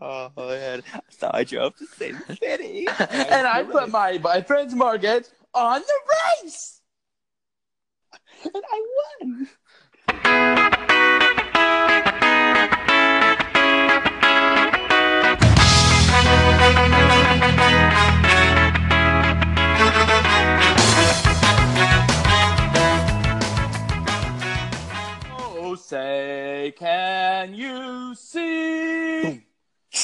Oh man! So I drove to Sin City, and I put my boyfriend's mortgage on the race, and I won. Oh, say, can you see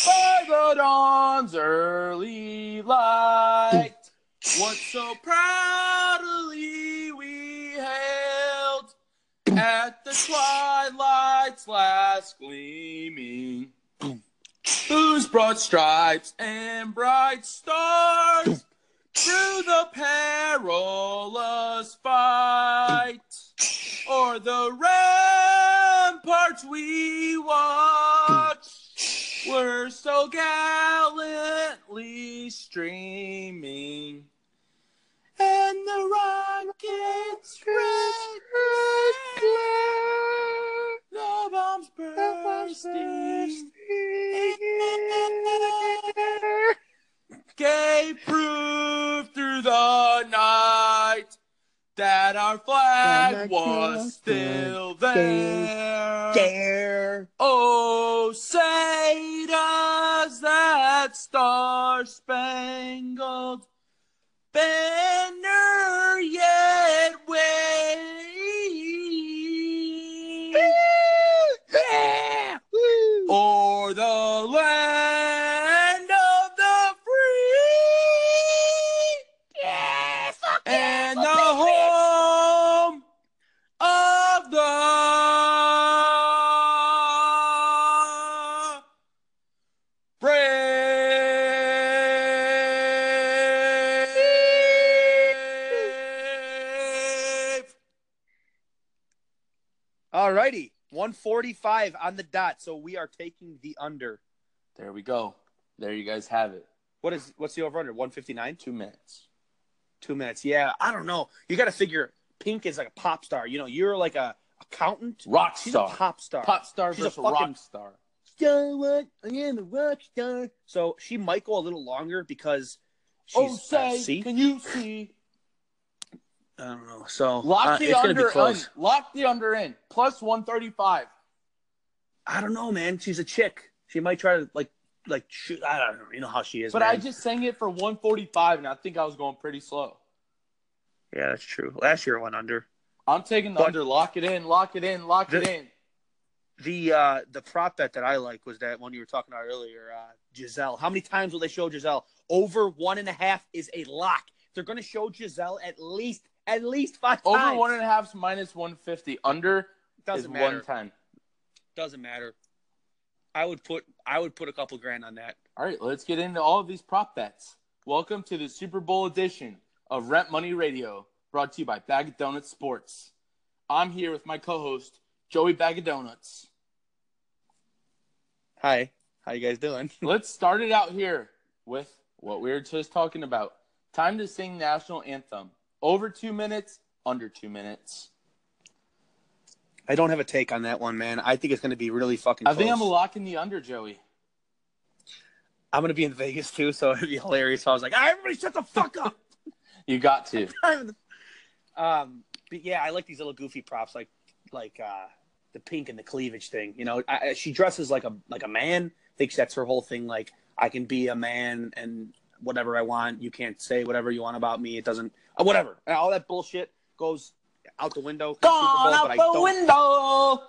by the dawn's early light what so proudly we hailed at the twilight's last gleaming? Whose broad stripes and bright stars through the perilous fight? O'er the ramparts we watch were so gallantly streaming. And the rockets red glare, the bombs bursting, gave proof through the night that our flag was still there. Dare. Oh, say does that star-spangled banner yet wave? Oh, O'er the land of the free and the home of the brave. Alrighty, 145 on the dot. So we are taking the under. There we go. There you guys have it. What is what's the over under? 159? Two minutes. Two minutes. Yeah, I don't know. You got to figure Pink is like a pop star. You know, you're like a accountant. Rock She's a star. pop star. Pop star She's a versus fucking- rock star. star. What? I am a rock star. So she might go a little longer because she's oh, uh, say, C. can you see? I don't know. So uh, Lock the it's gonna be under in. close. Lock the under in. Plus 135. I don't know, man. She's a chick. She might try to like like shoot. I don't know. You know how she is. But man. I just sang it for 145, and I think I was going pretty slow. yeah, that's true. Last year it went under. I'm taking the But- under. Lock it in. Lock it in. Lock it The- in. the uh the prop bet that I like was that one you were talking about earlier, uh, Giselle. How many times will they show Giselle? Over one and a half is a lock. They're gonna show Giselle at least at least five Over times. one and a half is minus 150. Under is doesn't matter. 110. Doesn't matter. I would put I would put a couple grand on that. All right, let's get into all of these prop bets. Welcome to the Super Bowl edition of Rent Money Radio, brought to you by Bag of Donuts Sports. I'm here with my co-host Joey Bag of Donuts. Hi, how you guys doing? Let's start it out here with what we were just talking about. Time to sing national anthem. Over two minutes, under two minutes. I don't have a take on that one, man. I think it's gonna be really fucking. I think close. I'm locking the under, Joey. I'm gonna be in Vegas too, so it'd be hilarious. So I was like, "All right, everybody, shut the fuck up. You got to. um, but yeah, I like these little goofy props, like like uh, the pink and the cleavage thing. You know, I, I- she dresses like a like a man. Thinks that's her whole thing. Like I can be a man and whatever I want. You can't say whatever you want about me. It doesn't. Uh, whatever. And all that bullshit goes out the window. Super Bowl, Gone but I out the don't- window.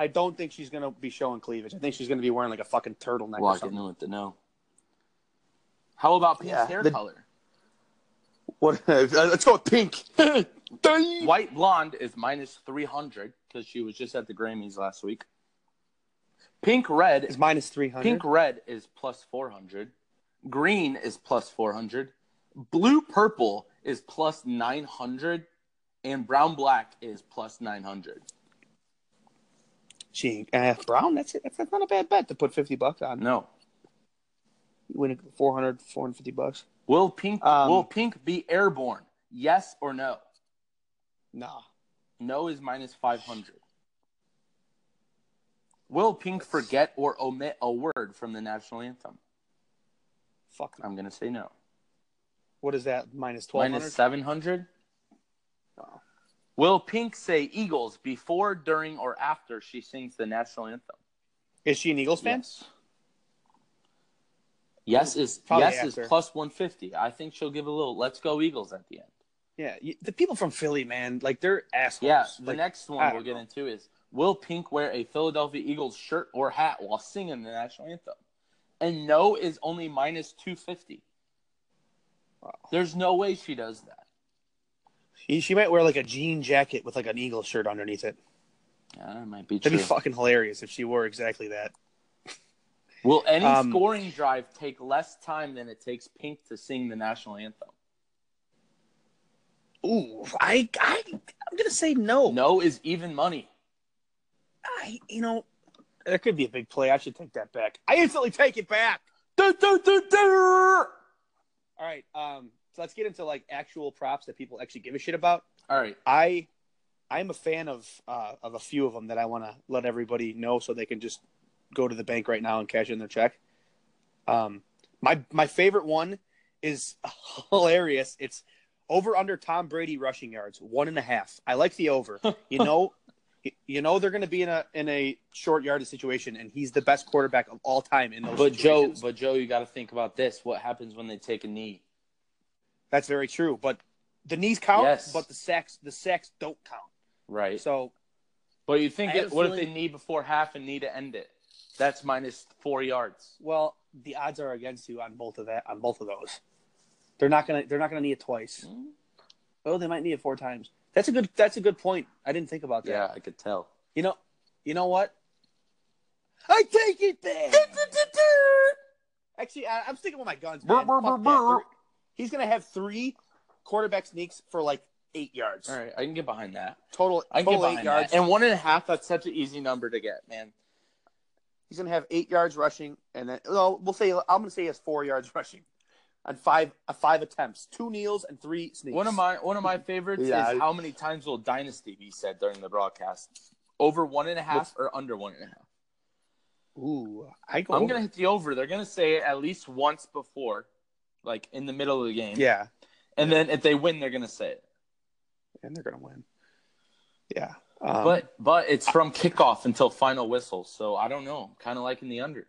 I don't think she's gonna be showing cleavage. I think she's gonna be wearing like a fucking turtleneck or Locking something. in with the no. How about Pink's Yeah, hair the- color? What? Let's go with pink. White. White blonde is minus 300 because she was just at the Grammys last week. Pink red It's minus three hundred. Pink red is plus 400. Green is plus 400. Blue purple is plus 900. And brown black is plus 900. She uh, Brown. That's it. That's, that's not a bad bet to put fifty bucks on. No. You win 400, 450 bucks. Will pink Um, will pink be airborne? Yes or no? Nah. No is minus 500. Will Pink forget or omit a word from the national anthem? Fuck. I'm going to say no. What is that? Minus twelve Minus hundred. 700? Oh. Will Pink say Eagles before, during, or after she sings the national anthem? Is she an Eagles fan? Yes. Yes is Probably yes after. is plus one fifty. I think she'll give a little let's go Eagles at the end. Yeah. y The people from Philly, man, like they're assholes. Yeah, the Like, next I one we'll don't get know. into is Will Pink wear a Philadelphia Eagles shirt or hat while singing the national anthem? And no is only minus 250. Wow. There's no way she does that. She, she might wear like a jean jacket with like an Eagles shirt underneath it. Yeah, that might be true. That'd be fucking hilarious if she wore exactly that. Will any Um, scoring drive take less time than it takes Pink to sing the national anthem? Ooh, I, I, I'm gonna say no. No is even money. I, you know, that could be a big play. I should take that back. I instantly take it back. Do, do, do, do. All right. Um. So let's get into like actual props that people actually give a shit about. All right. I, I'm a fan of uh, of a few of them that I want to let everybody know so they can just go to the bank right now and cash in their check. Um. My my favorite one is hilarious. It's over under Tom Brady rushing yards one and a half. I like the over. You know. You know they're going to be in a in a short yardage situation, and he's the best quarterback of all time in those. But Joe, situations. but Joe, you got to think about this. What happens when they take a knee? That's very true. But the knees count, Yes. but the sacks the sacks don't count. Right. So But you I think have it, a what if feeling- they knee before half and knee to end it? That's minus four yards. well, the odds are against you on both of that on both of those. They're not gonna they're not gonna need it twice. Oh, they might need it four times. That's a good that's a good point. I didn't think about that. Yeah, I could tell. You know you know what? I take it back. Actually, I, I'm sticking with my guns. Man. Brr, brr, Fuck brr, that. brr. Three- He's gonna have three quarterback sneaks for like eight yards. All right, I can get behind that. Total I can total get eight behind yards. that. And one and a half, that's such an easy number to get, man. He's gonna have eight yards rushing, and then well, we'll say I'm gonna say he has four yards rushing on five uh, five attempts, two kneels and three sneaks. One of my one of my favorites Yeah. is how many times will Dynasty be said during the broadcast? Over one and a half or under one and a half? ooh, I go. I'm gonna hit the over. They're gonna say it at least once before, like in the middle of the game. yeah, And then if they win, they're gonna say it. and they're gonna win. Yeah, um, but but it's from kickoff until final whistle, so I don't know. Kind of like in the under.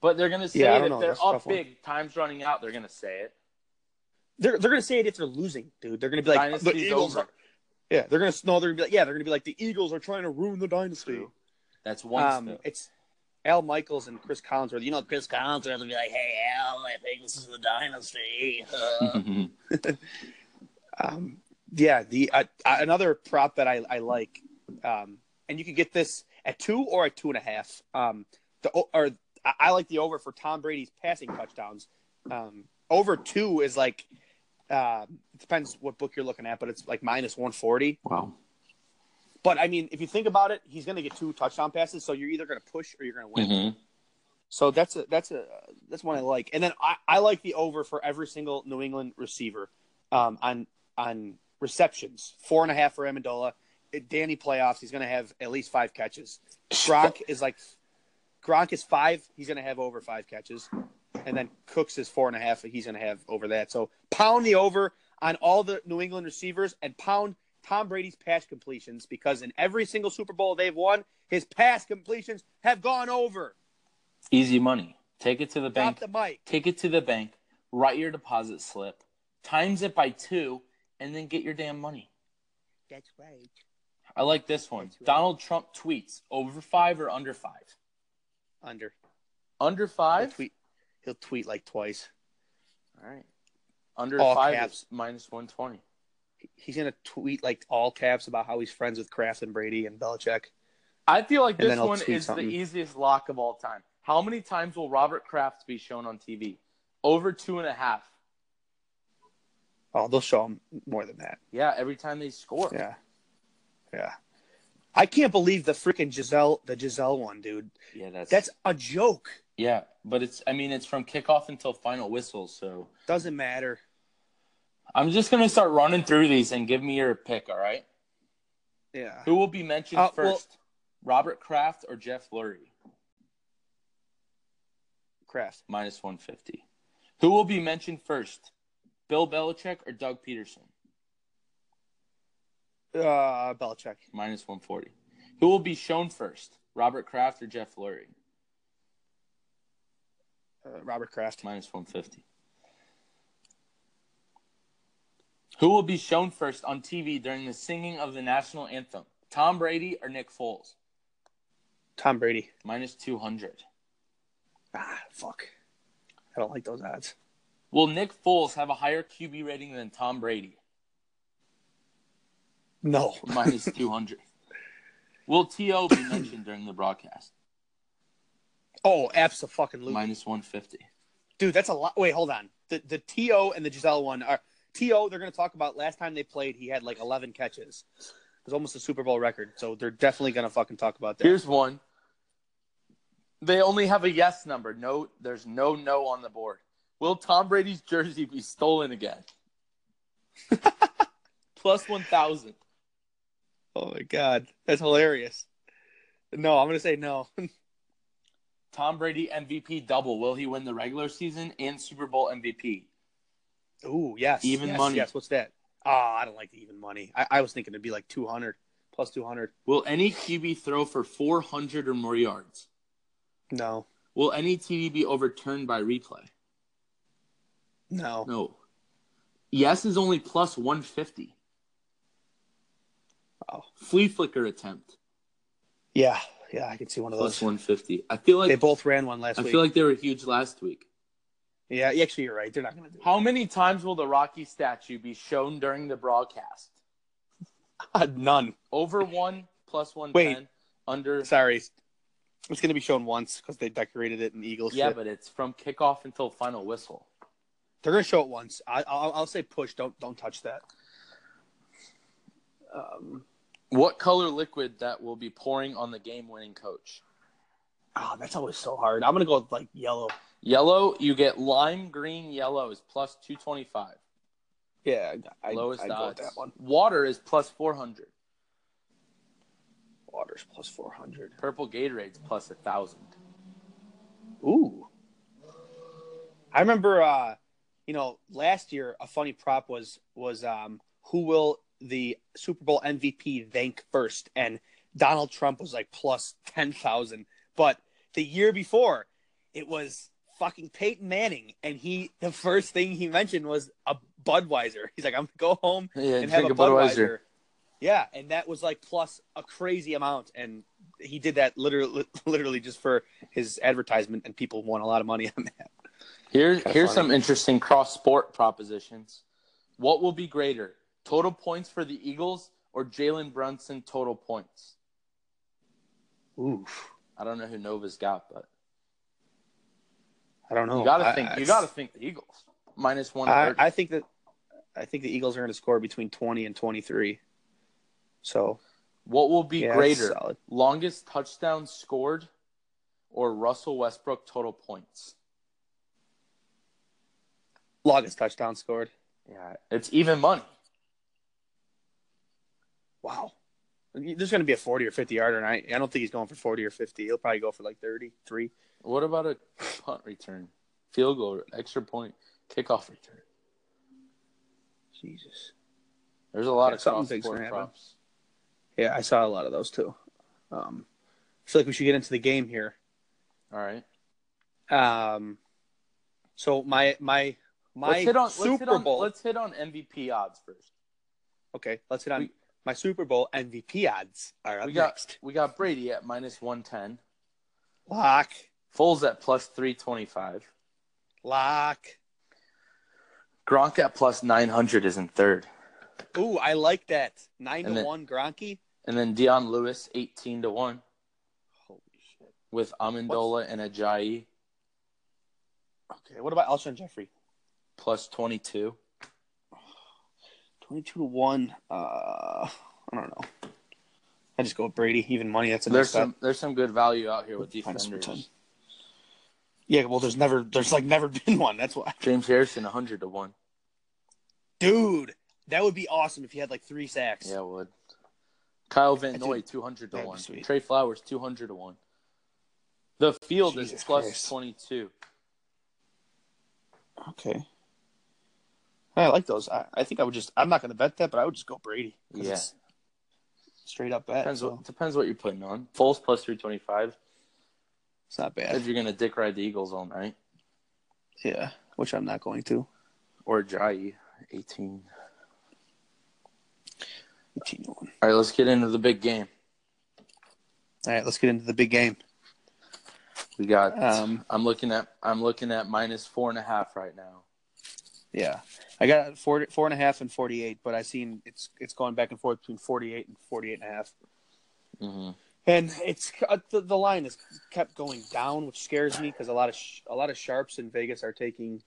But they're gonna say Yeah, I it don't if know. they're That's a tough up one. big, time's running out. They're gonna say it. they're they're gonna say it if they're losing, dude. They're gonna be like the Dynasty's Eagles. over. Are, yeah, they're gonna no, they're gonna be like yeah, they're gonna be like the Eagles are trying to ruin the dynasty. True. That's one Um, step. it's Al Michaels and Chris Collinsworth. You know, Chris Collinsworth would be like, "Hey, Al, I think this is the dynasty." Mm-hmm. Um, yeah, the uh, uh, another prop that I, I like, um, and you can get this at two or at two and a half. Um, the o- or I- I like the over for Tom Brady's passing touchdowns. Um, over two is like, uh, it depends what book you're looking at, but it's like minus one forty. wow. But I mean, if you think about it, he's going to get two touchdown passes, so you're either going to push or you're going to Mm-hmm. win. So that's a that's a that's one I like. And then I, I like the over for every single New England receiver um, on on receptions. Four and a half for Amendola. It- Danny playoffs. He's going to have at least five catches. Gronk is like Gronk is five. He's going to have over five catches. And then Cooks is four and a half. and He's going to have over that. So pound the over on all the New England receivers and pound Tom Brady's pass completions because in every single Super Bowl they've won, his pass completions have gone over. Easy money. Take it to the Drop bank. the mic. Take it to the bank. Write your deposit slip. Times it by two, and then get your damn money. That's right. I like this one. That's right. Donald Trump tweets over five or under five. Under. Under He'll five. tweet. He'll tweet like twice. All right. Under All five caps. is minus one twenty. He's gonna tweet like all caps about how he's friends with Kraft and Brady and Belichick. I feel like And this then I'll one tweet is something. the easiest lock of all time. How many times will Robert Kraft be shown on TV? Over two and a half. Oh, they'll show him more than that. Yeah, every time they score. Yeah, yeah. I can't believe the freaking Giselle, the Giselle one, dude. Yeah, that's That's a joke. yeah, but it's I mean it's from kickoff until final whistle, so Doesn't matter. I'm just gonna start running through these and give me your pick, all right? Yeah. Who will be mentioned Uh, well- first? Robert Kraft or Jeff Lurie? Kraft. Minus 150. Who will be mentioned first? Bill Belichick or Doug Peterson? Uh, Belichick. Minus 140. Who will be shown first? Robert Kraft or Jeff Lurie? Uh, Robert Kraft. Minus 150. Who will be shown first on TV during the singing of the national anthem? Tom Brady or Nick Foles? Tom Brady. Minus 200. Ah, fuck. I don't like those odds. Will Nick Foles have a higher QB rating than Tom Brady? No. Minus 200. Will T.O. be mentioned during the broadcast? Oh, absolutely. Minus 150. Dude, that's a lot. Wait, hold on. The the To and the Giselle one are To. They're going to talk about last time they played. He had like eleven catches. It was almost a Super Bowl record. So they're definitely going to fucking talk about that. Here's one. They only have a yes number. No, there's no no on the board. Will Tom Brady's jersey be stolen again? Plus 1,000. oh my god, that's hilarious. No, I'm going to say no. Tom Brady MVP double. Will he win the regular season and Super Bowl MVP? Ooh, yes. Even yes, money. Yes. What's that? Oh, I don't like the even money. I, I was thinking it'd be like two hundred plus two hundred. Will any QB throw for 400 or more yards? No, Will any TD be overturned by replay? no. No. Yes is only plus 150. Oh. Flea flicker attempt Yeah, yeah. I can see one of plus those. 150. I feel They like both ran one last I week. feel like they were huge last week. yeah, actually, you're right. They're not going to do. it. How many times will the Rocky statue be shown during the broadcast? None. Over 1 plus 110 Wait. under Sorry. It's going to be shown once because they decorated it in Eagles. Yeah, Yeah, but it's from kickoff until final whistle. they're going to show it once. I, I'll, I'll say push. Don't don't touch that. Um, What color liquid that will be pouring on the game-winning coach? oh, that's always so hard. I'm going to go with like yellow. Yellow, you get lime green. Yellow is plus two twenty-five. Yeah, I, Lowest I'd go with odds. that one. Water is plus four hundred. Waters plus four hundred. Purple Gatorade's plus a thousand. Ooh. I remember, uh, you know, last year a funny prop was was um, who will the Super Bowl MVP thank first, and Donald Trump was like plus ten thousand. But the year before, it was fucking Peyton Manning, and he the first thing he mentioned was a Budweiser. He's like, I'm gonna go home Yeah, and have a Budweiser. Yeah, and that was like plus a crazy amount, and he did that literally, literally just for his advertisement, and people won a lot of money on that. Here, Kinda funny. here's some interesting cross-sport propositions. What will be greater, total points for the Eagles or Jalen Brunson total points? Oof, I don't know who Nova's got, but I don't know. you gotta Oh, I- think. I- you gotta think the Eagles minus one I, thirty. I think that I think the Eagles are going to score between twenty and twenty-three. So What will be yeah, that's greater, solid. longest touchdown scored or Russell Westbrook total points? Longest touchdown scored. Yeah, it's even money. Wow. There's going to be a 40 or 50 yarder, and I, I don't think he's going for 40 or 50. He'll probably go for like 33. What about a punt return, field goal, extra point, kickoff return? Jesus. There's a lot Yeah, of something cross big's gonna sport happen. props. Yeah, I saw a lot of those too. Um, I feel like we should get into the game here. All right, Um, so my my my let's hit on Super let's hit on, Bowl. Let's hit on MVP odds first. okay, let's hit on We- my Super Bowl MVP odds. Are up We got next. we got Brady at minus one ten, Lock, Foles at plus three twenty five, lock. Gronk at plus nine hundred is in third, Ooh, I like that nine And to then- one Gronky. and then Dion Lewis eighteen to one Holy shit. with Amendola and Ajayi Okay, what about Alshon Jeffrey? plus twenty two. Twenty-two to one. Uh, I don't know. I just go with Brady. Even money. That's a There's nice some bet. there's some good value out here with Minus defenders. 110. Yeah, well, there's never, there's like never been one. That's why. James Harrison, hundred to one. Dude, that would be awesome if he had like three sacks. Yeah, it would. Kyle Van That Noy, 200 to that'd be 1. sweet. Trey Flowers, 200 to 1. The field is Jesus plus Christ. 22. Okay. I like those. I, I think I would just. I'm not going to bet that, but I would just go Brady. 'cause Yeah. it's Straight up bet. Depends, So what, depends what you're putting on. Foles plus 325. it's not If bad. you're going to dick ride the Eagles all night. Yeah. Which I'm not going to. Or Jai, 18. 18 to 1. All right, let's get into the big game. All right, let's get into the big game. We got. Um, I'm looking at. I'm looking at minus four and a half right now. Yeah. I got four, four and a half and 48, but i seen it's it's going back and forth between 48 and 48 and a half. mm-hmm. hmm and it's uh, the, the line has kept going down, which scares me because a lot of sh- a lot of sharps in Vegas are taking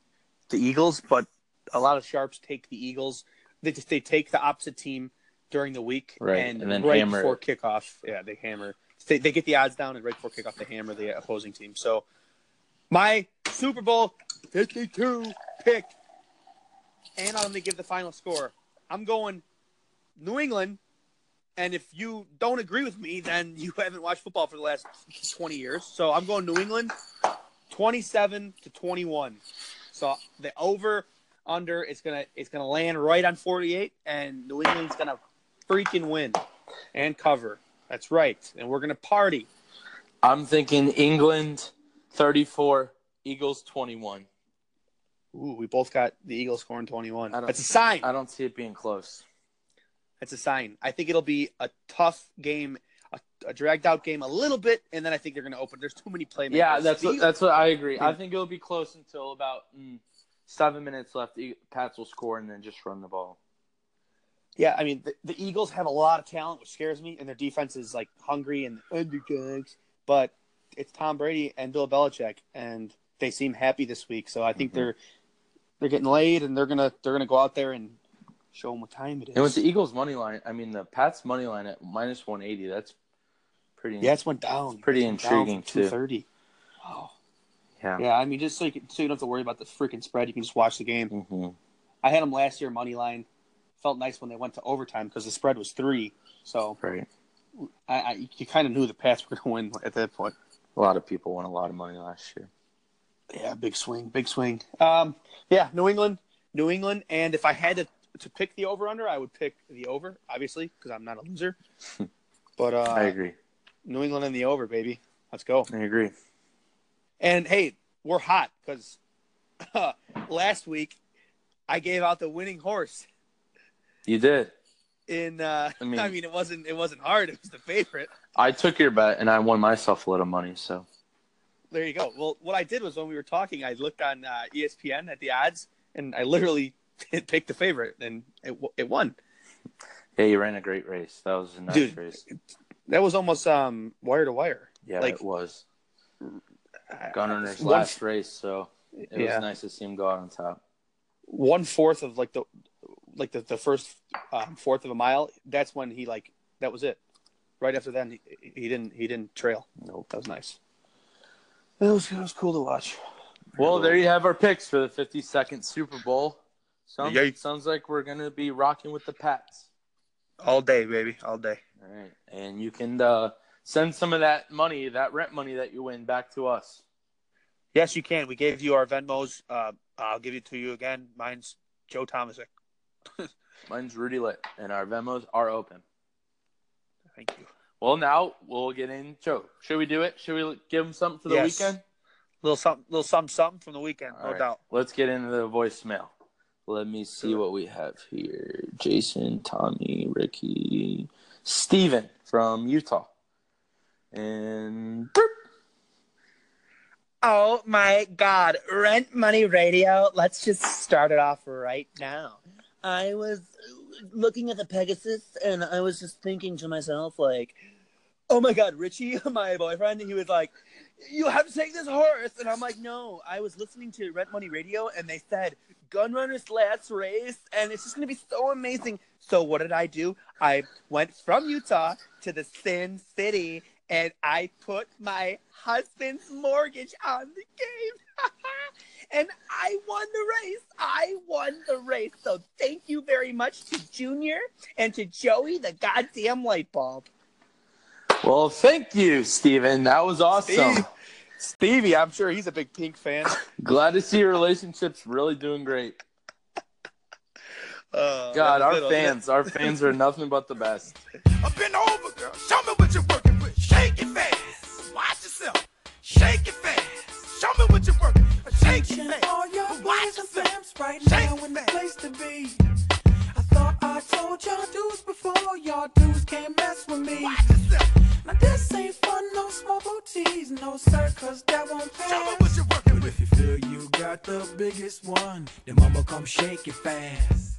the Eagles, but a lot of sharps take the Eagles. They just they take the opposite team during the week, Right, And, and then right hammer before it. kickoff, yeah, they hammer. They, they get the odds down, and right before kickoff, they hammer the opposing team. So my Super Bowl fifty-two pick, and I'm going to give the final score. I'm going New England. And if you don't agree with me, then you haven't watched football for the last 20 years. So I'm going New England 27 to 21. So the over under is going to it's going to land right on 48 and New England's going to freaking win and cover. That's right. And we're going to party. I'm thinking England, 34, Eagles 21. Ooh, we both got the Eagles scoring 21. I don't- That's a sign. I don't see it being close. That's a sign. I think it'll be a tough game, a, a dragged out game a little bit and then I think they're going to open. There's too many playmakers. Yeah, that's The what, Eagles- that's what I agree. I think it'll be close until about mm, seven minutes left. E- Pats will score and then just run the ball. Yeah, I mean the, the Eagles have a lot of talent, which scares me, and their defense is like hungry and underdogs. But it's Tom Brady and Bill Belichick, and they seem happy this week. So I think Mhm. they're they're getting laid, and they're gonna they're gonna go out there and show them what time it is. And with the Eagles money line, I mean the Pats money line at minus 180. That's pretty. yeah, it's went down. pretty intriguing, too. Two thirty. Wow. Yeah. Yeah, I mean, just so you, can, so you don't have to worry about the freaking spread, you can just watch the game. Mhm. I had them last year money line. Felt nice when they went to overtime because the spread was three. So Right. I, I you kind of knew the Pats were gonna win at that point. A lot of people won a lot of money last year. Yeah, big swing, big swing. Um, yeah, New England, New England, and if I had to to pick the over under, I would pick the over, obviously, because I'm not a loser. but I uh, agree. New England and the over, baby, let's go. I agree. And hey, we're hot because last week I gave out the winning horse You did. in. Uh, I mean- I mean, it wasn't it wasn't hard. It was the favorite. I took your bet and I won myself a little money. So There you go. Well, what I did was when we were talking, I looked on uh, ESPN at the odds, and I literally picked the favorite, and it w- it won. yeah, you ran a great race. That was a nice Dude. race. That was almost um, wire to wire. Yeah, Like- it was I- Gunner's one- last race, so it Yeah. was nice to see him go out on top. One fourth of like the like the, the first um, fourth of a mile. That's when he like that was it. Right after that, he, he didn't he didn't trail. Nope. That was nice. It was it was cool to watch. Well, there you have our picks for the 52nd Super Bowl. Sounds, Yikes. sounds like we're going to be rocking with the Pats. all day, baby, all day. All right. And you can uh, send some of that money, that rent money that you win, back to us. Yes, you can. We gave you our Venmos. Uh, I'll give it to you again. Mine's Joe Thomas. Mine's Rudy Lit, and our Vemos are open. Thank you. Well, now we'll get in. Joe, should we do it? Should we give them something for the Yes. weekend? Little something, little something, something from the weekend, All no right, doubt. Let's get into the voicemail. Let me see Sure. what we have here. Jason, Tommy, Ricky, Steven from Utah. And boop. Oh my God. Rent Money Radio. Let's just start it off right now. I was looking at the Pegasus and I was just thinking to myself, like, oh my God, Richie, my boyfriend, he was like, you have to take this horse. And I'm like, no, I was listening to Rent Money Radio and they said, Gunrunner's last race, and it's just going to be so amazing. So, what did I do? I went from Utah to the Sin City and I put my husband's mortgage on the game. and I won the race. I won the race. So thank you very much to Junior and to Joey, the goddamn light bulb. Well, thank you, Steven. That was awesome. Steve. Stevie, I'm sure he's a big Pink fan. Glad to see your relationship's really doing great. Uh, that God, was our good, wasn't it? fans, our fans are nothing but the best. I've been over, girl. Show me what you're working with. Shake it fast. Watch yourself. Shake it fast. Show me what you're working. with. Shake Attention, it fast. all your Watch boys and yourself. fams right Shake now it in the back. place to be. I thought I told y'all dudes before, y'all dudes can't mess with me. Watch yourself. Now this ain't fun, no small booties, no sir, cause that won't Show me pass. what you're working But with. if you feel you got the biggest one, then mama come shake it fast.